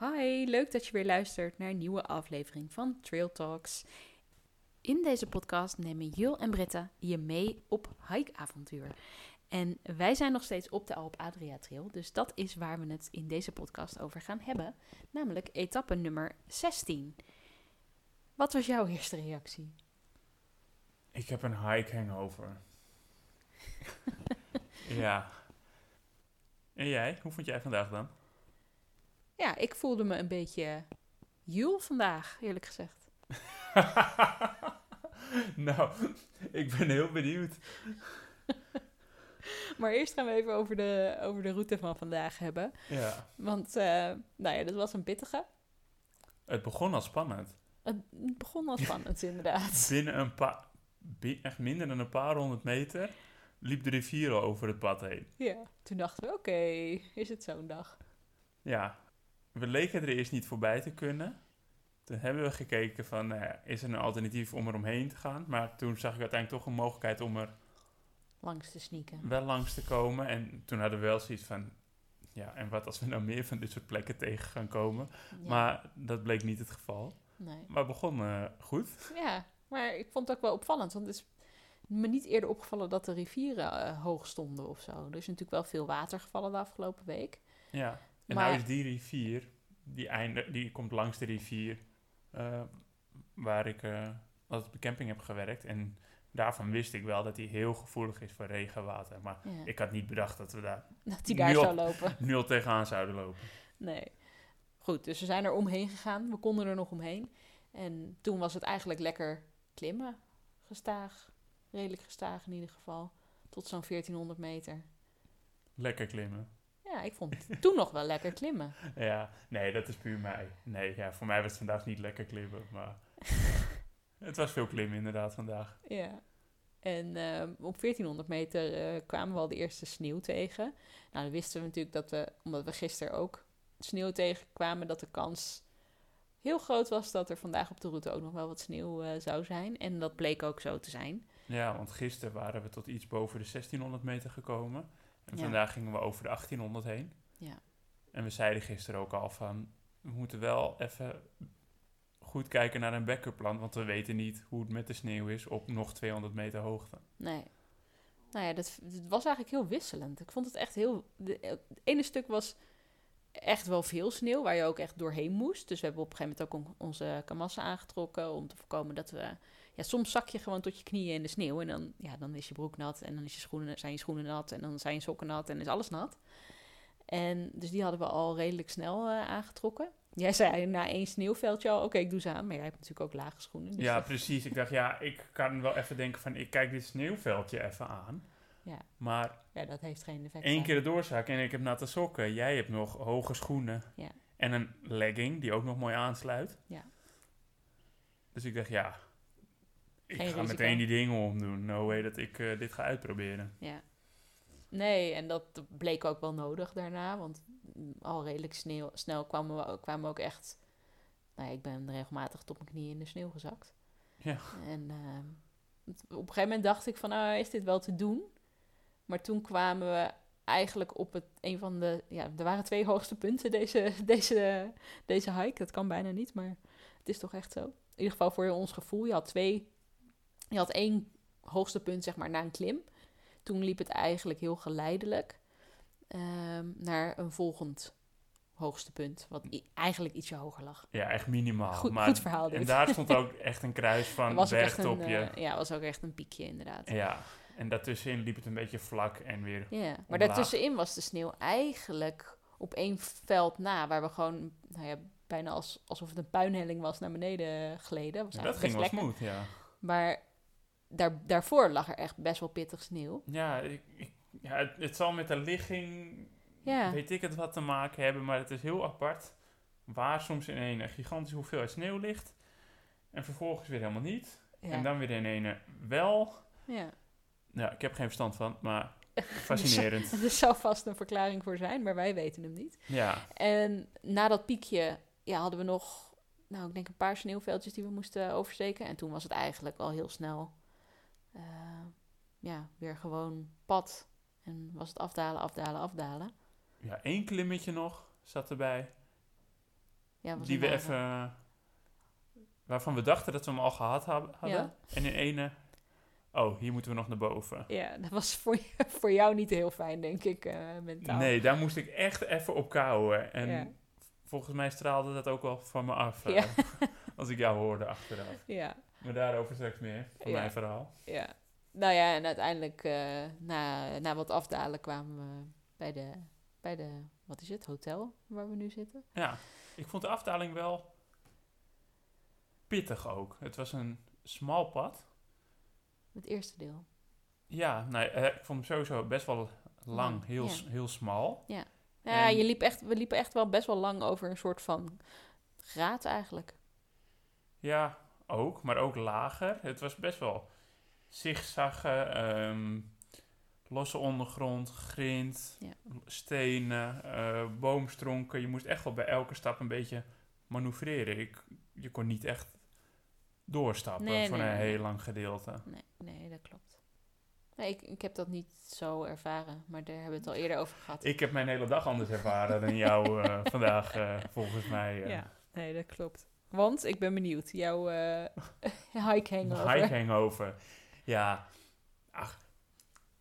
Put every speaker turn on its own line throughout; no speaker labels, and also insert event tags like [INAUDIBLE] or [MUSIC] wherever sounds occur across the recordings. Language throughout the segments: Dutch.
Hi, leuk dat je weer luistert naar een nieuwe aflevering van Trail Talks. In deze podcast nemen Jul en Britta je mee op hikeavontuur. En wij zijn nog steeds op de Alp Adria Trail, dus dat is waar we het in deze podcast over gaan hebben, namelijk etappe nummer 16. Wat was jouw eerste reactie?
Ik heb een hike hangover. ja. En jij? Hoe vond jij vandaag dan? [LAUGHS]
Ja, ik voelde me een beetje Jul vandaag, eerlijk gezegd.
nou, ik ben heel benieuwd.
Maar eerst gaan we even over de, over de route van vandaag hebben.
Ja.
Want, eh, nou ja, dat was een pittige.
Het begon al spannend.
Het begon al [LAUGHS] spannend, inderdaad.
Binnen een paar... bi- echt minder dan een paar honderd meter liep de rivier al over het pad heen.
Ja. Toen dachten we, oké, is het zo'n dag?
Ja. We leken er eerst niet voorbij te kunnen. Toen hebben we gekeken van, nou ja, is er een alternatief om er omheen te gaan? Maar toen zag ik uiteindelijk toch een mogelijkheid om er
Langs te sneaken.
wel langs te komen. En toen hadden we wel zoiets van... Ja, en wat als we nou meer van dit soort plekken tegen gaan komen?
Ja,
Maar dat bleek niet het geval.
Nee.
Maar het begon eh, goed.
Ja, maar ik vond het ook wel opvallend. Want het is me niet eerder opgevallen dat de rivieren eh, hoog stonden of zo. Er is natuurlijk wel veel water gevallen de afgelopen week.
Ja. En
Maar-
nou is die rivier, die, einde, die komt langs de rivier eh, waar ik eh, als op de camping heb gewerkt. En daarvan wist ik wel dat die heel gevoelig is voor regenwater. Maar
Ja.
ik had niet bedacht dat we daar
[LAUGHS] Dat die daar
Joh.
zou lopen.
nul tegenaan zouden lopen.
Nee. Goed, dus we zijn er omheen gegaan. We konden er nog omheen. En toen was het eigenlijk lekker klimmen. Gestaag. Redelijk gestaag in ieder geval. Tot zo'n 1400 meter.
Lekker klimmen.
Ja, ik vond het toen nog wel lekker klimmen.
Ja, nee, dat is puur mij. Nee, ja, voor mij was het vandaag niet lekker klimmen,
[LAUGHS]
maar... Het was veel klimmen inderdaad vandaag.
Ja. En ehm, op 1400 meter eh, kwamen we al de eerste sneeuw tegen. Nou, dan wisten we natuurlijk dat we, omdat we gisteren ook sneeuw tegenkwamen, dat de kans heel groot was dat er vandaag op de route ook nog wel wat sneeuw eh, zou zijn. En dat bleek ook zo te zijn.
Ja, want gisteren waren we tot iets boven de 1600 meter gekomen. En
Ja.
vandaag gingen we over de 1800 heen.
Ja.
En we zeiden gisteren ook al van... We moeten wel even goed kijken naar een backup plan... want we weten niet hoe het met de sneeuw is op nog 200 meter hoogte.
Nee. Nou ja, dat, dat was eigenlijk heel wisselend. Ik vond het echt heel. de- het ene stuk was echt wel veel sneeuw, waar je ook echt doorheen moest. Dus we hebben op een gegeven moment ook on- onze kamassen aangetrokken om te voorkomen dat we. Ja, soms zak je gewoon tot je knieën in de sneeuw en dan, ja, dan is je broek nat en dan is je schoenen, zijn je schoenen nat en dan zijn je sokken nat en is alles nat. En dus die hadden we al redelijk snel eh, aangetrokken. Jij zei na één sneeuwveldje al, oké, ik doe ze aan. Maar jij hebt natuurlijk ook lage schoenen. Dus
Ja,
dat-
precies. Ik dacht, ja, ik kan wel even denken van... ik kijk dit sneeuwveldje even aan.
Ja.
Maar
ja, dat heeft geen effect.
één
eigenlijk.
keer de doorzaak en ik heb natte sokken. Jij hebt nog hoge schoenen.
Ja.
En een legging die ook nog mooi aansluit.
Ja.
Dus ik dacht, ja... Ik
Geen
ga
risico.
meteen die dingen omdoen. No way dat ik eh, dit ga uitproberen.
Ja. Nee, en dat bleek ook wel nodig daarna. Want mm, al redelijk sneeuw, snel kwamen we, ook- kwamen we ook echt... Nou ja, ik ben regelmatig tot mijn knieën in de sneeuw gezakt.
Ja.
En ehm, het- op een gegeven moment dacht ik van, nou, is dit wel te doen? Maar toen kwamen we eigenlijk op het, een van de... Ja, er waren twee hoogste punten deze, [LAUGHS] deze, deze hike. Dat kan bijna niet, maar het is toch echt zo. In ieder geval voor ons gevoel. Je had twee... Je had één hoogste punt, zeg maar, na een klim toen liep het eigenlijk heel geleidelijk ehm, naar een volgend hoogste punt. Wat i- eigenlijk ietsje hoger lag.
Ja, echt minimaal.
Goed-
maar,
goed verhaal dit.
En daar stond ook echt een
[LAUGHS]
kruis
Er
van
was ook echt een,
bergtopje.
eh, ja, was ook echt een piekje inderdaad.
ja, en daartussenin liep het een beetje vlak en weer...
Ja, maar
Omlaag.
daartussenin was de sneeuw eigenlijk op één veld na, waar we gewoon, nou ja, bijna als, alsof het een puinhelling was naar beneden gleden. Was
dat
eigenlijk
ging
best
wel
lekker.
smooth, ja.
Maar daar, daarvoor lag er echt best wel pittig sneeuw.
Ja, ik, ik- ja het, het zal met de ligging,
Ja.
weet ik het wat te maken hebben, maar het is heel apart waar soms in een gigantische hoeveelheid sneeuw ligt en vervolgens weer helemaal niet. En
Ja,
dan weer in een wel.
ja. [LAUGHS]
Ja, ik heb geen verstand van, maar fascinerend.
er zou vast een verklaring voor zijn, maar wij weten hem niet.
Ja,
En na dat piekje ja, hadden we nog, nou, ik denk een paar sneeuwveldjes die we moesten oversteken. En toen was het eigenlijk al heel snel eh, ja, weer gewoon pad. En was het afdalen, afdalen, afdalen.
ja één klimmetje nog zat erbij.
Ja, was
die
een
we
rare.
even... Waarvan we dachten dat we hem al gehad hab- hadden.
Ja.
En in ene... Oh, hier moeten we nog naar boven.
Ja, dat was voor, [LAUGHS] voor jou niet heel fijn, denk ik, eh, mentaal.
Nee, daar moest ik echt even op kauwen. En
Ja.
volgens mij straalde dat ook wel van me af. eh, [LAUGHS]
Ja.
als ik jou hoorde achteraf.
Ja,
Maar daarover straks meer. Van
Ja.
mijn verhaal.
ja. Nou ja, en uiteindelijk, eh, na, na wat afdalen, kwamen we bij de, bij de, wat is het, hotel waar we nu zitten.
Ja, ik vond de afdaling wel pittig ook. Het was een smal pad.
Het eerste deel.
Ja, nee, eh, ik vond hem sowieso best wel lang, heel,
ja.
s- heel smal.
Nou ja,
En-
je liep echt, we liepen echt wel best wel lang over een soort van graad eigenlijk.
Ja, ook, maar ook lager. Het was best wel zigzaggen, ehm, losse ondergrond, grind,
Ja.
stenen, eh, boomstronken. Je moest echt wel bij elke stap een beetje manoeuvreren. Ik, je kon niet echt doorstappen
Nee,
voor
nee,
een
nee,
heel
nee.
lang gedeelte.
Nee, nee dat klopt. Nee, ik, ik heb dat niet zo ervaren, maar daar hebben we het al eerder over gehad.
Ik heb mijn hele dag anders ervaren dan jou eh, vandaag, eh, volgens mij. eh,
Ja, nee, dat klopt. Want ik ben benieuwd, jouw eh [LAUGHS] hike hangover.
Hike hangover. Ja. Ach,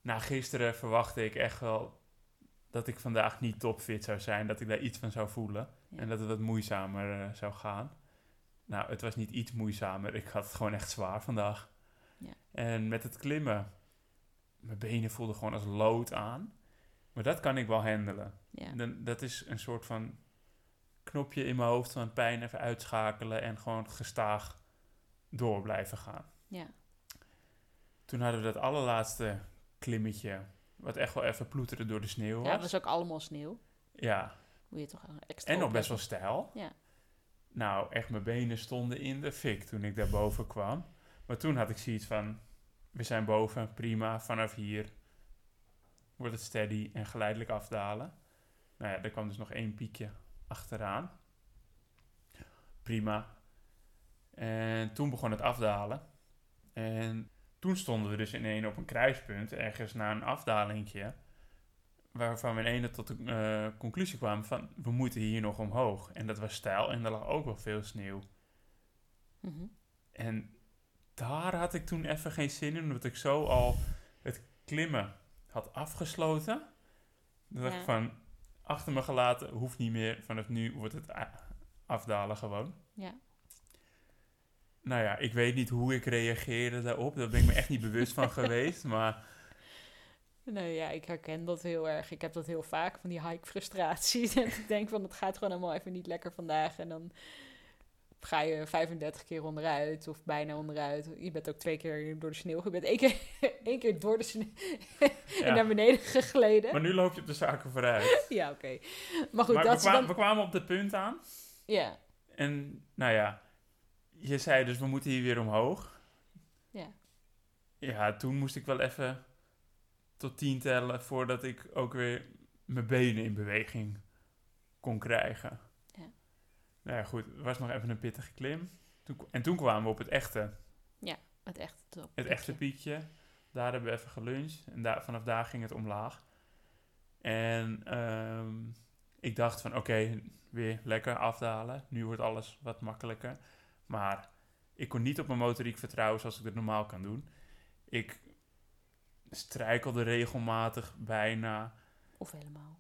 na gisteren verwachtte ik echt wel dat ik vandaag niet topfit zou zijn. Dat ik daar iets van zou voelen.
Ja.
En dat het wat moeizamer eh, zou gaan. Nou, het was niet iets moeizamer. Ik had het gewoon echt zwaar vandaag.
Ja.
En met het klimmen. Mijn benen voelden gewoon als lood aan. Maar dat kan ik wel handelen.
Ja.
Dan, dat is een soort van knopje in mijn hoofd van pijn even uitschakelen en gewoon gestaag door blijven gaan.
Ja.
Toen hadden we dat allerlaatste klimmetje, wat echt wel even ploeteren door de sneeuw
ja,
was.
het was ook allemaal sneeuw.
Ja,
Moet je toch wel extra
en nog
opletten.
best wel stijl.
Ja.
Nou, echt mijn benen stonden in de fik toen ik daarboven kwam. Maar toen had ik zoiets van, we zijn boven, prima, vanaf hier wordt het steady en geleidelijk afdalen. Nou ja, er kwam dus nog één piekje achteraan. Prima. En toen begon het afdalen. En toen stonden we dus ineen op een kruispunt, ergens na een afdalingje. Waarvan we ineens tot de eh, conclusie kwamen van, we moeten hier nog omhoog. En dat was stijl en er lag ook wel veel sneeuw.
Mhm.
En daar had ik toen even geen zin in, omdat ik zo al het klimmen had afgesloten. Dan dacht
Ja.
ik van, achter me gelaten, hoeft niet meer. Vanaf nu wordt het a- afdalen gewoon.
Ja.
Nou ja, ik weet niet hoe ik reageerde daarop. Daar ben ik me echt niet bewust
[LAUGHS]
van geweest. Maar
Nou ja, ik herken dat heel erg. Ik heb dat heel vaak, van die hike-frustratie. [LAUGHS] dat ik denk van, het gaat gewoon allemaal even niet lekker vandaag. En dan ga je 35 keer onderuit, of bijna onderuit. Je bent ook twee keer door de sneeuw. Je bent één keer, [LAUGHS] één keer door de sneeuw en
ja.
naar beneden gegleden.
Maar nu loop je op de zaken
[LAUGHS]
vooruit.
Ja, oké. Maar goed,
maar
dat
we,
ze
kwamen,
dan...
we kwamen op dit punt aan.
Ja,
En nou ja, je zei dus we moeten hier weer omhoog.
Ja.
Ja, toen moest ik wel even tot tien tellen voordat ik ook weer mijn benen in beweging kon krijgen.
Ja.
Nou ja, goed, het was nog even een pittige klim. Toen, en toen kwamen we op het echte,
het echte top.
het echte piekje. Daar hebben we even geluncht en daar, vanaf daar ging het omlaag. En ehm, ik dacht van oké, weer lekker afdalen. Nu wordt alles wat makkelijker. Maar ik kon niet op mijn motoriek vertrouwen zoals ik dat normaal kan doen. Ik strijkelde regelmatig bijna.
Of helemaal.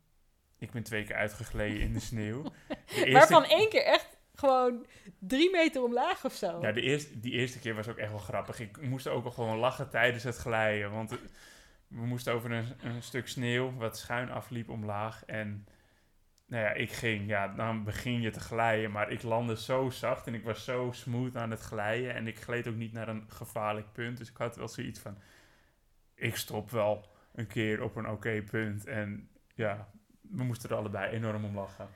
Ik ben twee keer uitgegleden in de sneeuw. De eerste-
Waarvan één keer echt gewoon drie meter omlaag of zo.
Ja, de eerste, die eerste keer was ook echt wel grappig. Ik moest ook al gewoon lachen tijdens het glijden. Want eh, we moesten over een, een stuk sneeuw wat schuin afliep omlaag. En nou ja, ik ging. Ja, dan begin je te glijden. Maar ik landde zo zacht en ik was zo smooth aan het glijden. En ik gleed ook niet naar een gevaarlijk punt. Dus ik had wel zoiets van... Ik stop wel een keer op een oké punt. En ja, we moesten er allebei enorm om lachen.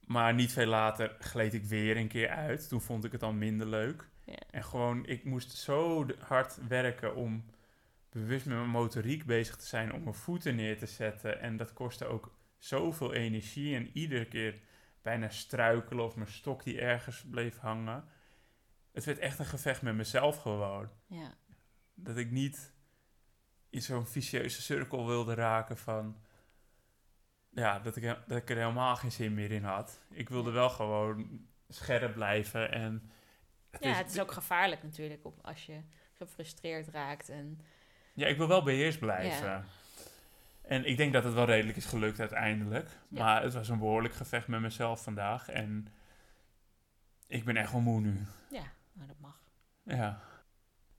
Maar niet veel later gleed ik weer een keer uit. Toen vond ik het al minder leuk.
Ja.
En gewoon, ik moest zo d- hard werken om bewust met mijn motoriek bezig te zijn, om mijn voeten neer te zetten. En dat kostte ook zoveel energie. En iedere keer bijna struikelen of mijn stok die ergens bleef hangen. Het werd echt een gevecht met mezelf gewoon.
Ja.
Dat ik niet in zo'n vicieuze cirkel wilde raken van... ja, dat ik, dat ik er helemaal geen zin meer in had. Ik wilde wel gewoon scherp blijven en... het
ja, het is ook gevaarlijk natuurlijk op, als je gefrustreerd raakt. En,
Ja, ik wil wel beheerst blijven. En ik denk dat het wel redelijk is gelukt uiteindelijk.
Ja.
Maar het was een behoorlijk gevecht met mezelf vandaag. En ik ben echt wel moe nu.
ja, nou, dat mag.
Ja.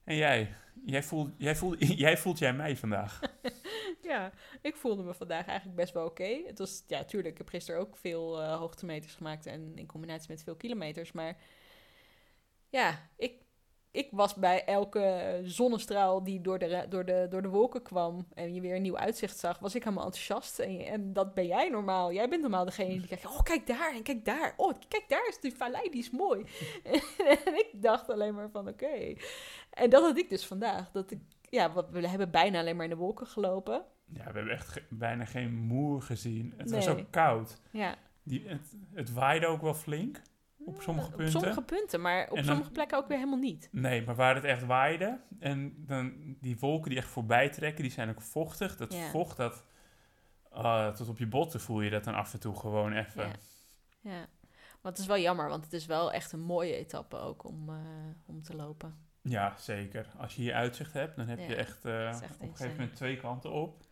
En jij? Jij voelt jij, voelt, [LAUGHS] jij, voelt jij mij vandaag?
[LAUGHS] Ja, ik voelde me vandaag eigenlijk best wel oké. Het was, ja, tuurlijk, ik heb gisteren ook veel eh, hoogtemeters gemaakt en in combinatie met veel kilometers. Maar ja, ik, ik was bij elke zonnestraal die door de, ra- door, de, door de wolken kwam en je weer een nieuw uitzicht zag, was ik helemaal enthousiast. En, en dat ben jij normaal. Jij bent normaal degene die kijkt, oh kijk daar en kijk daar. Oh kijk daar is die vallei, die is mooi. [LAUGHS] en ik dacht alleen maar van oké. En dat had ik dus vandaag. Dat ik, ja, wat- we hebben bijna alleen maar in de wolken gelopen.
Ja, we hebben echt ge- bijna geen moer gezien. Het was
Nee.
ook koud.
Ja.
Die, het, het waaide ook wel flink. Op sommige
Op
punten.
sommige punten, maar op
En dan-
sommige plekken ook weer helemaal niet.
Nee, maar waar het echt waaide. En dan die wolken die echt voorbij trekken, die zijn ook vochtig. Dat
Ja.
vocht, dat... ah, tot op je botten voel je dat dan af en toe gewoon even.
Ja. ja. Maar het is wel jammer, want het is wel echt een mooie etappe ook om, eh, om te lopen.
Ja, zeker. Als je hier uitzicht hebt, dan heb
Ja,
je echt, eh,
is echt
op een
insane.
gegeven moment twee kanten op.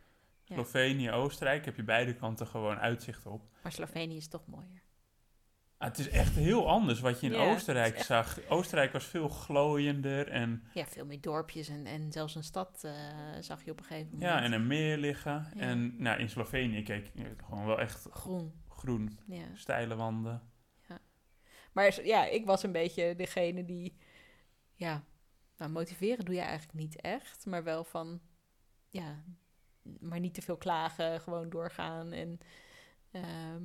Ja.
Slovenië, Oostenrijk heb je beide kanten gewoon uitzicht op.
Maar Slovenië is toch mooier.
Ah, het is echt heel anders wat je in
Ja, het
Oostenrijk
is echt-
zag. Oostenrijk was veel glooiender en,
Ja, veel meer dorpjes en, en zelfs een stad eh, zag je op een gegeven moment.
ja, en een meer liggen.
Ja.
En nou, in Slovenië keek je gewoon wel echt
Groen,
groen,
ja.
steile wanden.
Maar s- ja, ik was een beetje degene die... Ja, nou, motiveren doe je eigenlijk niet echt. Maar wel van... Ja, maar niet te veel klagen. Gewoon doorgaan. En ehm,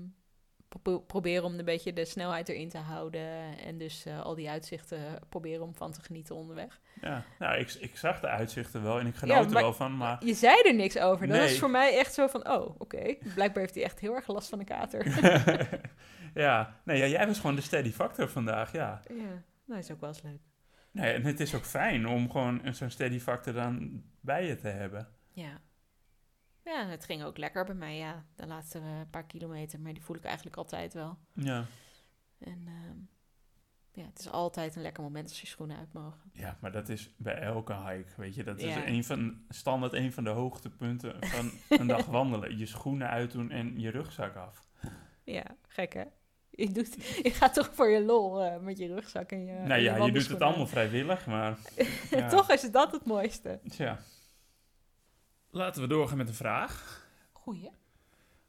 pro- proberen om een beetje de snelheid erin te houden. En dus eh, al die uitzichten proberen om van te genieten onderweg.
Ja, nou, ik, ik zag de uitzichten wel en ik genoot er
maar-
wel
[LAUGHS]
van, maar
Je zei er niks over. Dat was
Nee.
voor mij echt zo van... Oh, oké. Blijkbaar heeft hij echt heel erg last van de kater.
ja. Nee, ja, jij was gewoon de steady factor vandaag, ja.
ja, dat is ook wel eens leuk.
Nee, en het is ook fijn om gewoon een- zo'n steady factor dan bij je te hebben.
Ja. Ja, het ging ook lekker bij mij, ja. De laatste eh, paar kilometer, maar die voel ik eigenlijk altijd wel.
Ja.
En ehm, ja, het is altijd een lekker moment als je schoenen uit mogen.
Ja, maar dat is bij elke hike, weet je. Dat is
Ja.
een van, standaard een van de hoogtepunten van een
[LAUGHS]
dag wandelen. Je schoenen uitdoen en je rugzak af.
Ja, gek hè? Je, doet, [LAUGHS] je gaat toch voor je lol eh, met je rugzak en je en
nou ja, je doet het
wandelschoenen.
allemaal vrijwillig, maar... ja,
[LAUGHS] toch is dat het mooiste.
Tja. Laten we doorgaan met een vraag.
Goeie.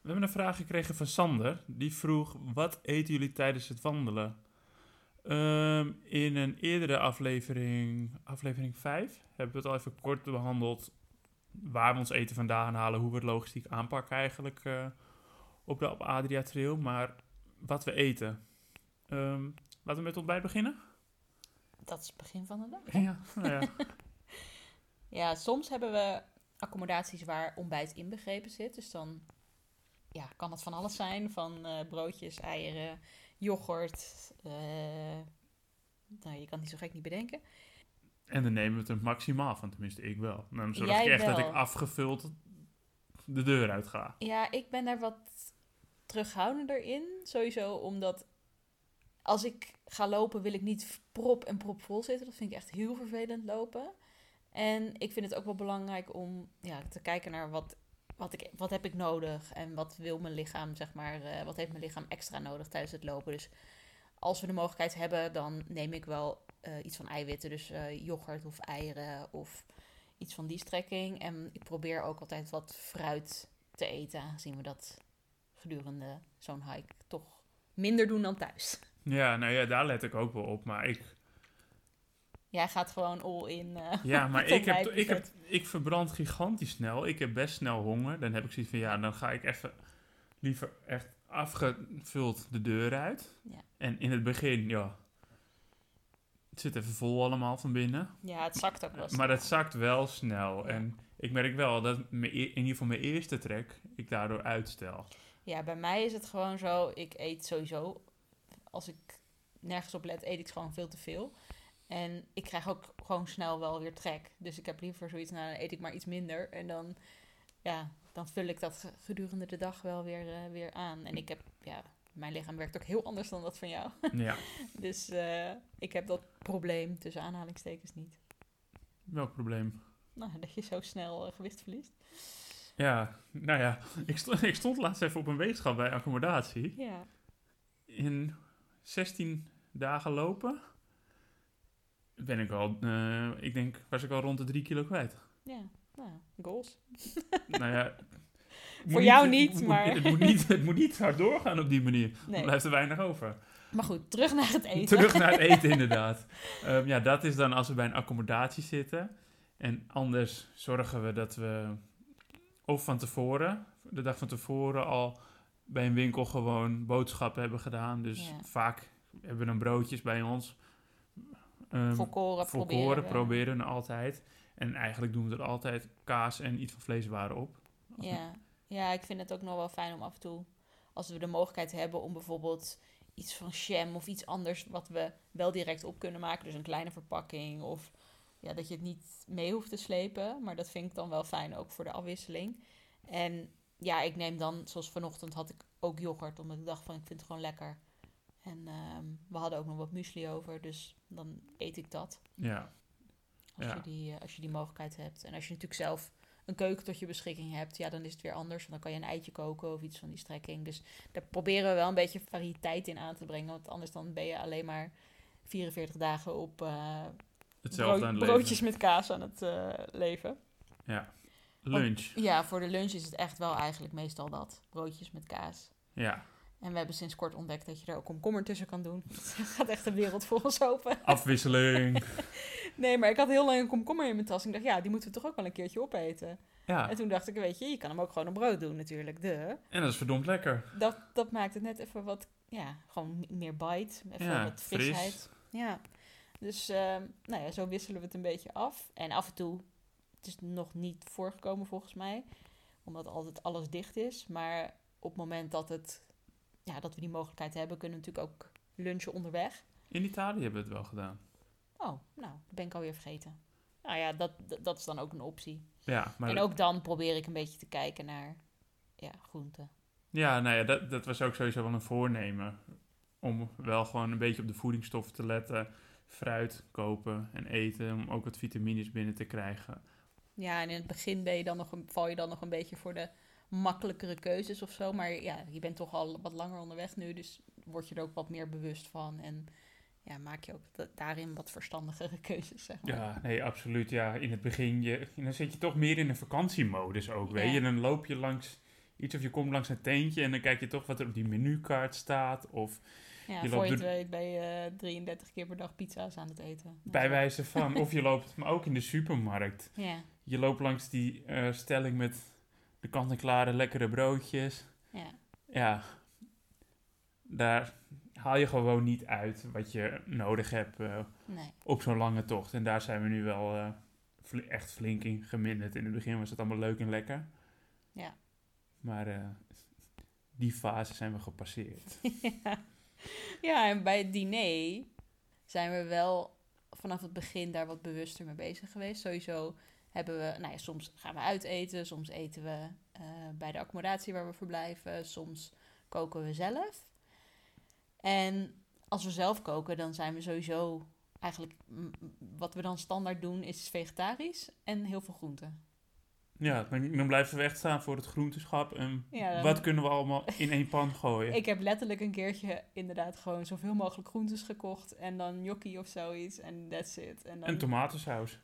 We hebben een vraag gekregen van Sander. Die vroeg, wat eten jullie tijdens het wandelen? Ehm, in een eerdere aflevering, aflevering 5, hebben we het al even kort behandeld waar we ons eten vandaan halen, hoe we het logistiek aanpakken eigenlijk eh, op de op Adria Trail, maar wat we eten. Ehm, laten we met ontbijt beginnen?
Dat is het begin van de dag.
Ja. Nou ja.
Ja, soms hebben we accommodaties waar ontbijt inbegrepen zit. Dus dan ja, kan dat van alles zijn. Van eh, broodjes, eieren, yoghurt. eh, nou, je kan het niet zo gek niet bedenken.
En dan nemen we het er maximaal van, tenminste ik wel. Dan zorg
Jij
ik echt dat
wel.
ik afgevuld de deur uit ga.
Ja, ik ben daar wat terughoudender in. Sowieso omdat als ik ga lopen wil ik niet prop en prop vol zitten. Dat vind ik echt heel vervelend lopen. En ik vind het ook wel belangrijk om ja, te kijken naar wat, wat, ik, wat heb ik nodig. En wat wil mijn lichaam, zeg maar, eh, wat heeft mijn lichaam extra nodig tijdens het lopen. Dus als we de mogelijkheid hebben, dan neem ik wel eh, iets van eiwitten. Dus eh, yoghurt of eieren of iets van die strekking. En ik probeer ook altijd wat fruit te eten, aangezien we dat gedurende zo'n hike toch minder doen dan thuis.
Ja, nou ja, daar let ik ook wel op, maar ik...
Jij gaat gewoon all in. eh. [LAUGHS]
Ja, maar
Tot
ik,
mij
heb, ik, heb,
perfect.
ik verbrand gigantisch snel. Ik heb best snel honger. Dan heb ik zoiets van, ja, dan ga ik even liever echt afgevuld de deur uit.
Ja.
En in het begin, ja, het zit even vol allemaal van binnen.
Ja, het zakt ook wel.
Maar dat zakt wel snel.
Ja.
En ik merk wel dat mijn e- in ieder geval mijn eerste trek ik daardoor uitstel.
[LAUGHS] Ja, bij mij is het gewoon zo. Ik eet sowieso. Als ik nergens op let, eet ik gewoon veel te veel. En ik krijg ook gewoon snel wel weer trek. Dus ik heb liever zoiets, nou dan eet ik maar iets minder. En dan, ja, dan vul ik dat ge- gedurende de dag wel weer, eh, weer aan. En ik heb, ja, mijn lichaam werkt ook heel anders dan dat van jou.
Ja.
Dus eh, ik heb dat probleem tussen aanhalingstekens niet.
Welk probleem?
Nou, dat je zo snel eh, gewicht verliest.
Ja, nou ja, [LAUGHS] ik stond, ik stond laatst even op een weegschaal bij accommodatie.
Ja.
In 16 dagen lopen ben ik al, eh, ik denk, was ik al rond de 3
[LAUGHS]
kilo kwijt.
Ja, nou, goals.
nou ja, het moet
Voor jou
het
niet,
moet-
maar-
Het moet niet, het moet niet hard doorgaan op die manier.
Nee.
Dan blijft er weinig over.
Maar goed, terug naar het eten.
Terug naar
[LAUGHS]
het eten, inderdaad. Ehm, ja, dat is dan als we bij een accommodatie zitten. En anders zorgen we dat we of van tevoren, de dag van tevoren al bij een winkel gewoon boodschappen hebben gedaan. Dus
Ja.
vaak hebben we dan broodjes bij ons. Ehm,
Volkoren proberen.
volkoren
we.
proberen we altijd. En eigenlijk doen we er altijd kaas en iets van vleeswaren op.
Ja. ja, ik vind het ook nog wel fijn om af en toe, als we de mogelijkheid hebben om bijvoorbeeld iets van jam of iets anders wat we wel direct op kunnen maken, dus een kleine verpakking of ja, dat je het niet mee hoeft te slepen, maar dat vind ik dan wel fijn ook voor de afwisseling. En ja, ik neem dan, zoals vanochtend had ik ook yoghurt, omdat ik dacht van ik vind het gewoon lekker. En ehm, we hadden ook nog wat muesli over, dus dan eet ik dat.
Ja,
Als,
Ja.
je die, eh, als je die mogelijkheid hebt. En als je natuurlijk zelf een keuken tot je beschikking hebt, ja, dan is het weer anders. Want dan kan je een eitje koken of iets van die strekking. Dus daar proberen we wel een beetje variëteit in aan te brengen. Want anders dan ben je alleen maar 44 dagen op eh,
hetzelfde
brood-
aan het leven.
broodjes met kaas aan het eh, leven.
Lunch,
Ja, voor de lunch is het echt wel eigenlijk meestal dat. Broodjes met kaas.
ja.
En we hebben sinds kort ontdekt dat je er ook komkommer tussen kan doen. [LAUGHS] Dat gaat echt de wereld voor ons open.
Ah.
[LAUGHS]
Afwisseling.
Nee, maar ik had heel lang een komkommer in mijn tas. Ik dacht, ja, die moeten we toch ook wel een keertje opeten.
Ja,
En toen dacht ik, weet je, je kan hem ook gewoon op brood doen natuurlijk. De.
en dat is verdomd lekker.
Dat, dat maakt het net even wat, ja, gewoon m- meer bite. Even
Ja,
wat
fris.
frisheid. Ja. Dus, ehm, nou ja, zo wisselen we het een beetje af. En af en toe, het is nog niet voorgekomen volgens mij. Omdat altijd alles dicht is. Maar op het moment dat, het, ja, dat we die mogelijkheid hebben, kunnen we natuurlijk ook lunchen onderweg.
In Italië hebben we het wel gedaan.
Oh, nou, dat ben ik alweer vergeten. Nou ja, dat, dat, dat is dan ook een optie.
Ja, maar
En ook dan probeer ik een beetje te kijken naar ja, groenten.
ja, nou ja dat, dat was ook sowieso wel een voornemen. Om wel gewoon een beetje op de voedingsstoffen te letten. Fruit kopen en eten. Om ook wat vitamines binnen te krijgen.
Ja, en in het begin ben je dan nog een, val je dan nog een beetje voor de makkelijkere keuzes of zo. Maar ja, je bent toch al wat langer onderweg nu, dus word je er ook wat meer bewust van. En ja, maak je ook da- daarin wat verstandigere [LAUGHS] keuzes, zeg maar.
Ja, nee, absoluut. Ja, in het begin je, dan zit je toch meer in een vakantiemodus ook. Weet
Ja.
je, dan loop je langs iets of je komt langs een tentje. En dan kijk je toch wat er op die menukaart staat. Of
Ja,
Je
voor je
loopt
het weet ben je eh, 33 keer per dag pizza's aan het eten.
bij wijze van.
[LAUGHS]
Of je loopt, maar ook in de supermarkt.
Ja,
Je loopt langs die eh, stelling met de kant-en-klare lekkere broodjes.
ja.
Ja, daar haal je gewoon niet uit wat je nodig hebt eh,
Nee,
op zo'n lange tocht. En daar zijn we nu wel eh, fl- echt flink in geminderd. In het begin was het allemaal leuk en lekker.
Ja.
Maar eh, die fase zijn we gepasseerd.
ja. ja, en bij het diner zijn we wel vanaf het begin daar wat bewuster mee bezig geweest. Sowieso hebben we, nou ja, soms gaan we uit eten, soms eten we eh, bij de accommodatie waar we verblijven, soms koken we zelf. En als we zelf koken, dan zijn we sowieso eigenlijk, m- wat we dan standaard doen, is vegetarisch en heel veel groenten.
Ja, dan, dan blijven we echt staan voor het groenteschap. En
Ja, dan-
wat kunnen we allemaal in één pan gooien?
Ik heb letterlijk een keertje inderdaad gewoon zoveel mogelijk groentes gekocht en dan gnocchi of zoiets en that's it. En dan
En tomatensaus.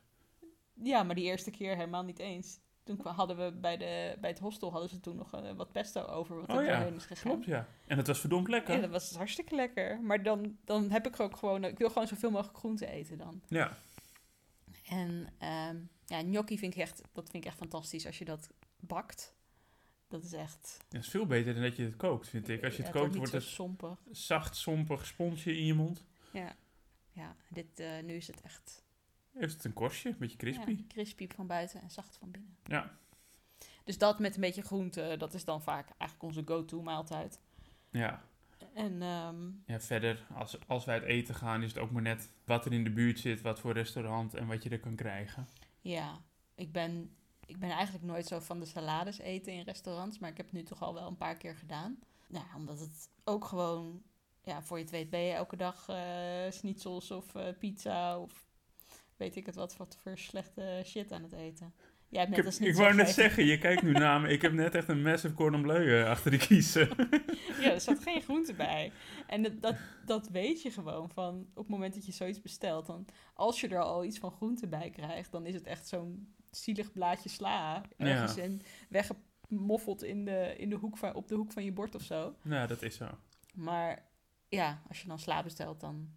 Ja, maar die eerste keer helemaal niet eens. Toen kwa- hadden we bij, de, bij het hostel hadden ze toen nog eh, wat pesto over, wat
Oh
er
ja,
doorheen is gegaan.
Klopt, ja. En het was verdomd lekker.
Ja, dat was dus hartstikke lekker. Maar dan, dan heb ik ook gewoon... Ik wil gewoon zoveel mogelijk groente eten dan.
ja.
En ehm, ja, gnocchi vind ik echt... Dat vind ik echt fantastisch als je dat bakt. Dat is echt...
Dat is veel beter dan dat je het kookt, vind ik. Als je
Ja,
het kookt,
niet
wordt
zo
het
sompig.
zacht, sompig sponsje in je mond.
Ja, ja dit, eh, nu is het echt...
Heeft het een korstje, een beetje crispy.
ja, crispy van buiten en zacht van binnen.
Ja.
Dus dat met een beetje groente, dat is dan vaak eigenlijk onze go-to maaltijd.
Ja.
En ehm,
ja, verder, als, als wij uit eten gaan, is het ook maar net wat er in de buurt zit, wat voor restaurant en wat je er kan krijgen.
ja, ik ben Ik ben eigenlijk nooit zo van de salades eten in restaurants, maar ik heb het nu toch al wel een paar keer gedaan. Nou, omdat het ook gewoon, ja, voor je het weet ben je elke dag eh schnitzels of eh, pizza of weet ik het wat, wat voor slechte shit aan het eten. Jij hebt
Ik,
net
heb-
een
ik
schnitzel
wou net
gegeten.
zeggen, je kijkt nu naar me. Ik heb net echt een massive cordon bleu eh, achter de kiezen.
Ja, er zat geen groente bij. En dat, dat, dat weet je gewoon van op het moment dat je zoiets bestelt. Dan, als je er al iets van groente bij krijgt, dan is het echt zo'n zielig blaadje sla. Ergens
Ja.
en weggemoffeld in de, in de hoek van, op de hoek van je bord of zo.
[LAUGHS] nou, dat is zo.
Maar ja, als je dan sla bestelt, dan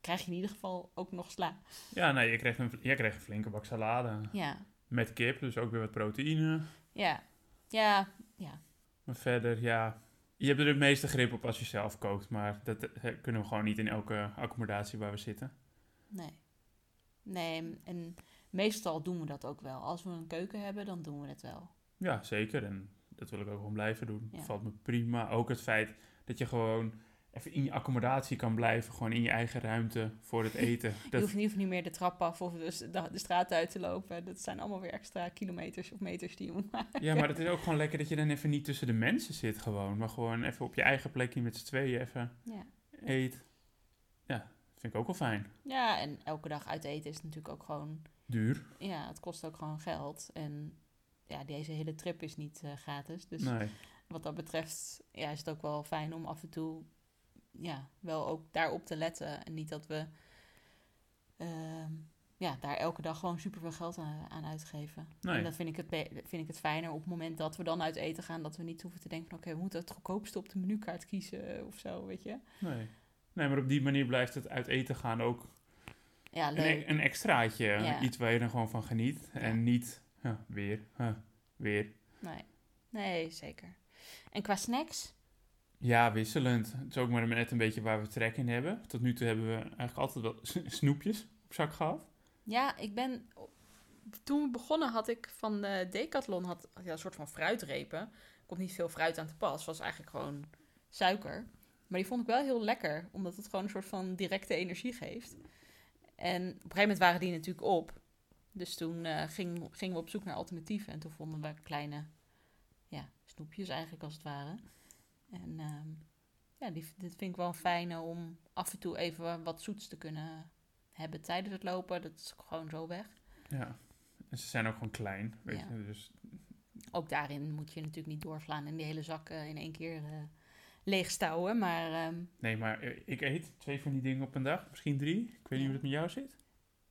krijg je in ieder geval ook nog sla.
Ja, nou, je kreeg, een, je kreeg een flinke bak salade.
Ja,
Met kip, dus ook weer wat proteïne.
ja, ja, ja.
Maar verder, ja. Je hebt er het meeste grip op als je zelf kookt. Maar dat eh, kunnen we gewoon niet in elke accommodatie waar we zitten.
Nee. Nee, en meestal doen we dat ook wel. Als we een keuken hebben, dan doen we het wel.
Ja, zeker. En dat wil ik ook gewoon blijven doen.
Ja.
Valt me prima. Ook het feit dat je gewoon even in je accommodatie kan blijven. Gewoon in je eigen ruimte
[LAUGHS]
voor het eten.
Je
Dat,
hoeft, je hoeft niet meer de trap af of dus de, de straat uit te lopen. Dat zijn allemaal weer extra kilometers of meters die je moet maken.
ja, maar het is ook gewoon lekker dat je dan even niet tussen de mensen zit gewoon. Maar gewoon even op je eigen plekje met z'n tweeën even
Ja.
eet. Ja, vind ik ook wel fijn.
ja, en elke dag uit eten is natuurlijk ook gewoon...
Duur.
Ja, het kost ook gewoon geld. En ja, deze hele trip is niet eh, gratis. Dus
Nee.
wat dat betreft ja, is het ook wel fijn om af en toe... Ja, wel ook daarop te letten. En niet dat we... ehm, ja, daar elke dag gewoon superveel geld aan, aan uitgeven.
Nee.
En dan vind ik, het be- vind ik het fijner op het moment dat we dan uit eten gaan, dat we niet hoeven te denken van oké, we moeten het goedkoopste op de menukaart kiezen eh, of zo, weet je.
Nee. Nee, maar op die manier blijft het uit eten gaan ook
Ja,
een,
leuk.
e- een extraatje.
Ja.
Iets waar je dan gewoon van geniet. En niet huh, weer, huh, weer.
Nee. nee, zeker. En qua snacks?
Ja, wisselend. Het is ook maar net een beetje waar we trek in hebben. Tot nu toe hebben we eigenlijk altijd wel s- [LAUGHS] snoepjes op zak gehad.
Ja, ik ben... Toen we begonnen had ik van eh, Decathlon had, ja, een soort van fruitrepen. Er komt niet veel fruit aan te pas, was eigenlijk gewoon suiker. Maar die vond ik wel heel lekker, omdat het gewoon een soort van directe energie geeft. En op een gegeven moment waren die natuurlijk op. Dus toen eh, ging, gingen we op zoek naar alternatieven. En toen vonden we kleine ja, snoepjes eigenlijk als het ware. En ehm, ja, die, dit vind ik wel fijn om af en toe even wat zoets te kunnen hebben tijdens het lopen. Dat is gewoon zo weg.
Ja. En ze zijn ook gewoon klein. Weet
Ja.
je? Dus
Ook daarin moet je natuurlijk niet doorslaan en die hele zak eh, in één keer eh, leegstouwen. Maar ehm,
nee, maar eh, ik eet twee van die dingen op een dag. Misschien drie. Ik weet niet
Ja.
hoe het met jou zit.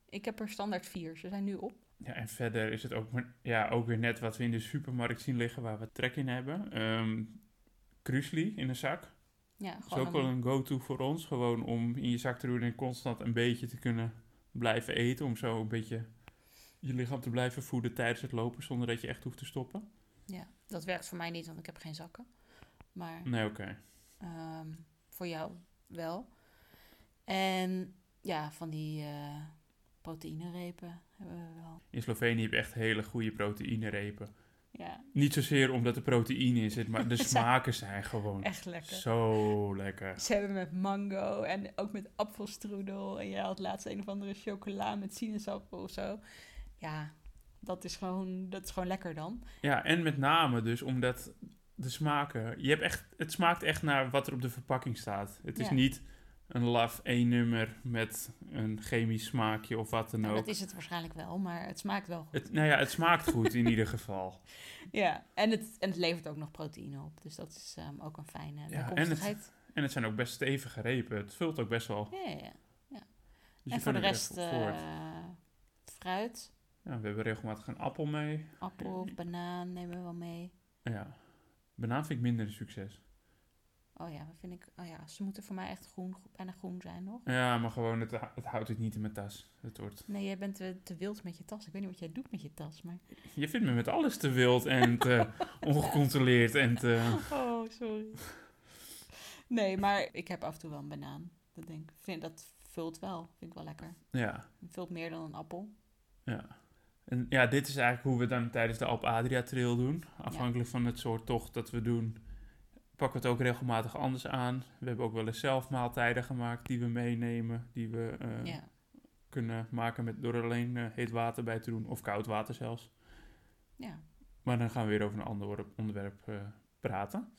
ik heb er standaard vier. Ze zijn nu op.
Ja, en verder is het ook, maar, ja, ook weer net wat we in de supermarkt zien liggen waar we trek in hebben. Ehm Krusli in een zak.
Ja,
Het is ook
gewoon
wel
om-
een go-to voor ons, gewoon om in je zak te doen en constant een beetje te kunnen blijven eten. Om zo een beetje je lichaam te blijven voeden tijdens het lopen, zonder dat je echt hoeft te stoppen.
ja, dat werkt voor mij niet, want ik heb geen zakken. Maar
Nee, oké.
Ehm, voor jou wel. En ja, van die eh proteïnerepen hebben we wel.
In Slovenië heb je echt hele goede proteïnerepen.
Ja,
Niet zozeer omdat er proteïne in zit,
[LAUGHS]
maar de
Zijn-
smaken zijn gewoon
echt lekker.
zo lekker.
Ze hebben met mango en ook met appelstroedel. En jij had laatst een of andere chocola met sinaasappel of zo. Ja, dat is gewoon, dat is gewoon lekker dan.
Ja, en met name dus omdat de smaken... Je hebt echt, het smaakt echt naar wat er op de verpakking staat. Het is
Ja.
niet een laf één nummer met een chemisch smaakje of wat dan
Nou,
ook.
dat is het waarschijnlijk wel, maar het smaakt wel goed.
Het, nou ja, het smaakt goed in ieder geval.
Ja, en het, en het levert ook nog proteïne op. Dus dat is ehm, ook een fijne
en het-
bijkomstigheid.
En het zijn ook best stevige repen. Het vult ook best wel.
Ja, ja, ja.
Dus
en voor de
je kan er echt
rest
op voort.
eh, fruit,
Ja, we hebben regelmatig een appel mee.
appel, banaan nemen we wel mee.
Ja. Banaan vind ik minder een succes.
Oh ja, wat vind ik. Oh ja, ze moeten voor mij echt groen, bijna groen zijn nog.
Ja, maar gewoon, het, het houdt het niet in mijn tas. Het wordt...
Nee, jij bent te, te wild met je tas. Ik weet niet wat jij doet met je tas, maar.
Je vindt me met alles te wild
[LAUGHS]
en te ongecontroleerd en te...
Oh, sorry. Nee, maar ik heb af en toe wel een banaan. Dat denk ik. Vind, dat vult wel. Vind ik wel lekker.
Ja.
Het vult meer dan een appel.
En ja, dit is eigenlijk hoe we dan tijdens de Alp Adria Trail doen. Afhankelijk van het soort tocht dat we doen, pakken we het ook regelmatig anders aan. We hebben ook wel eens zelf maaltijden gemaakt die we meenemen, die we eh,
Ja.
kunnen maken met, door er alleen eh, heet water bij te doen, of koud water zelfs.
Ja.
Maar dan gaan we weer over een ander onderwerp- onderwerp eh, praten.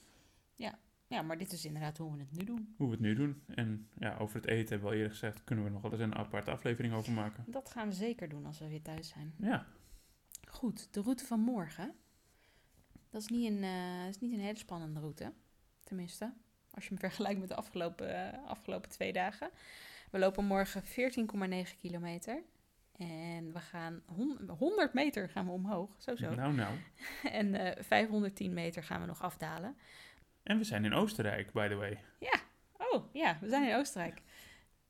ja, maar dit is inderdaad hoe we het nu doen.
Hoe we het nu doen. En ja, over het eten hebben we al eerder gezegd, kunnen we nog wel eens een aparte aflevering over maken.
Dat gaan we zeker doen als we weer thuis zijn.
Ja,
Goed, de route van morgen. Dat is niet een, eh, is niet een hele spannende route. Tenminste, als je hem vergelijkt met de afgelopen, eh, afgelopen twee dagen. We lopen morgen 14,9 kilometer. En we gaan hon- 100 meter gaan we omhoog, sowieso.
nou nou.
[LAUGHS] En eh, 510 meter gaan we nog afdalen.
En we zijn in Oostenrijk, by the way.
Oh ja, we zijn in Oostenrijk.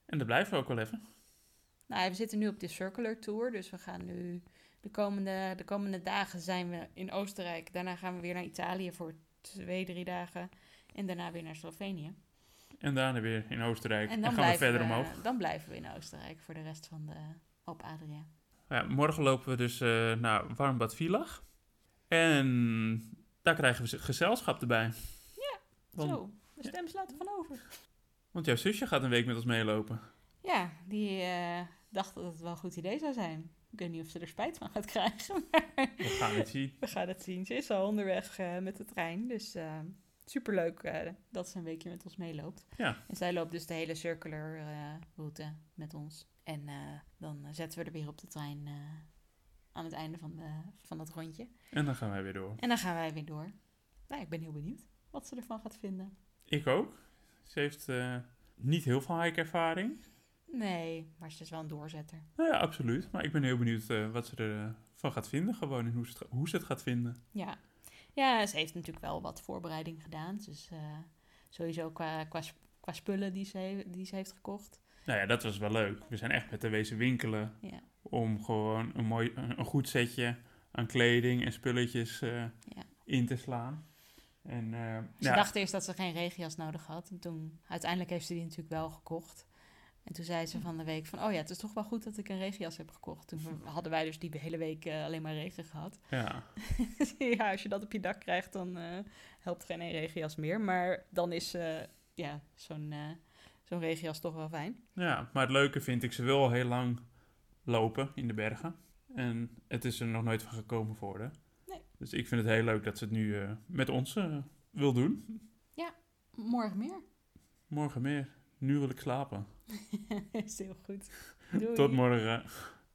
En daar blijven we ook wel even.
Nou, ja, we zitten nu op de Circular Tour, dus we gaan nu de komende, de komende dagen zijn we in Oostenrijk. Daarna gaan we weer naar Italië voor twee, drie dagen. En daarna weer naar Slovenië.
En daarna weer in Oostenrijk. En dan, gaan we
blijven
verder omhoog.
Dan blijven we in Oostenrijk voor de rest van de op Adria.
Ja, morgen lopen we dus eh, naar Warmbad Villach. En daar krijgen we z- gezelschap erbij. Dan-
Zo, de stem slaat er van over.
Want jouw zusje gaat een week met ons meelopen.
Ja, die eh, dacht dat het wel een goed idee zou zijn. Ik weet niet of ze er spijt van gaat krijgen, [LAUGHS] maar
We gaan het zien.
we gaan het zien. Ze is al onderweg eh, met de trein, dus eh, superleuk eh, dat ze een weekje met ons meeloopt.
Ja.
En zij loopt dus de hele circular eh, route met ons. En eh, dan eh, zetten we er weer op de trein eh, aan het einde van, de, van dat rondje.
En dan gaan wij weer door.
En dan gaan wij weer door. Nou, ik ben heel benieuwd wat ze ervan gaat vinden.
Ik ook. Ze heeft eh, niet heel veel hike-ervaring.
Nee, maar ze is wel een doorzetter.
Nou ja, absoluut. Maar ik ben heel benieuwd eh, wat ze ervan gaat vinden. Gewoon en hoe ze, het, hoe ze het gaat vinden.
Ja. Ja, ze heeft natuurlijk wel wat voorbereiding gedaan. Dus eh, sowieso qua, qua, sp- qua spullen die ze, he- die ze heeft gekocht.
Nou ja, dat was wel leuk. We zijn echt met de wezen winkelen.
Ja.
Om gewoon een, mooi, een een goed setje aan kleding en spulletjes eh,
Ja.
in te slaan. En, eh,
Ze
ja,
dacht eerst dat ze geen regenjas nodig had. En toen, uiteindelijk heeft ze die natuurlijk wel gekocht. En toen zei ze van de week van, oh ja, het is toch wel goed dat ik een regenjas heb gekocht. Toen hadden wij dus die hele week eh, alleen maar regen gehad. [LAUGHS]
ja.
ja, als je dat op je dak krijgt, dan eh, helpt geen één regenjas meer. Maar dan is eh, ja, zo'n eh, zo'n regenjas toch wel fijn.
Ja, maar het leuke vind ik, ze wil al heel lang lopen in de bergen. En het is er nog nooit van gekomen voor haar.
Nee.
Dus ik vind het heel leuk dat ze het nu eh, met ons eh, wil doen.
Morgen [LAUGHS] meer.
Morgen meer. Nu wil ik slapen.
is heel goed. Doei.
Tot morgen.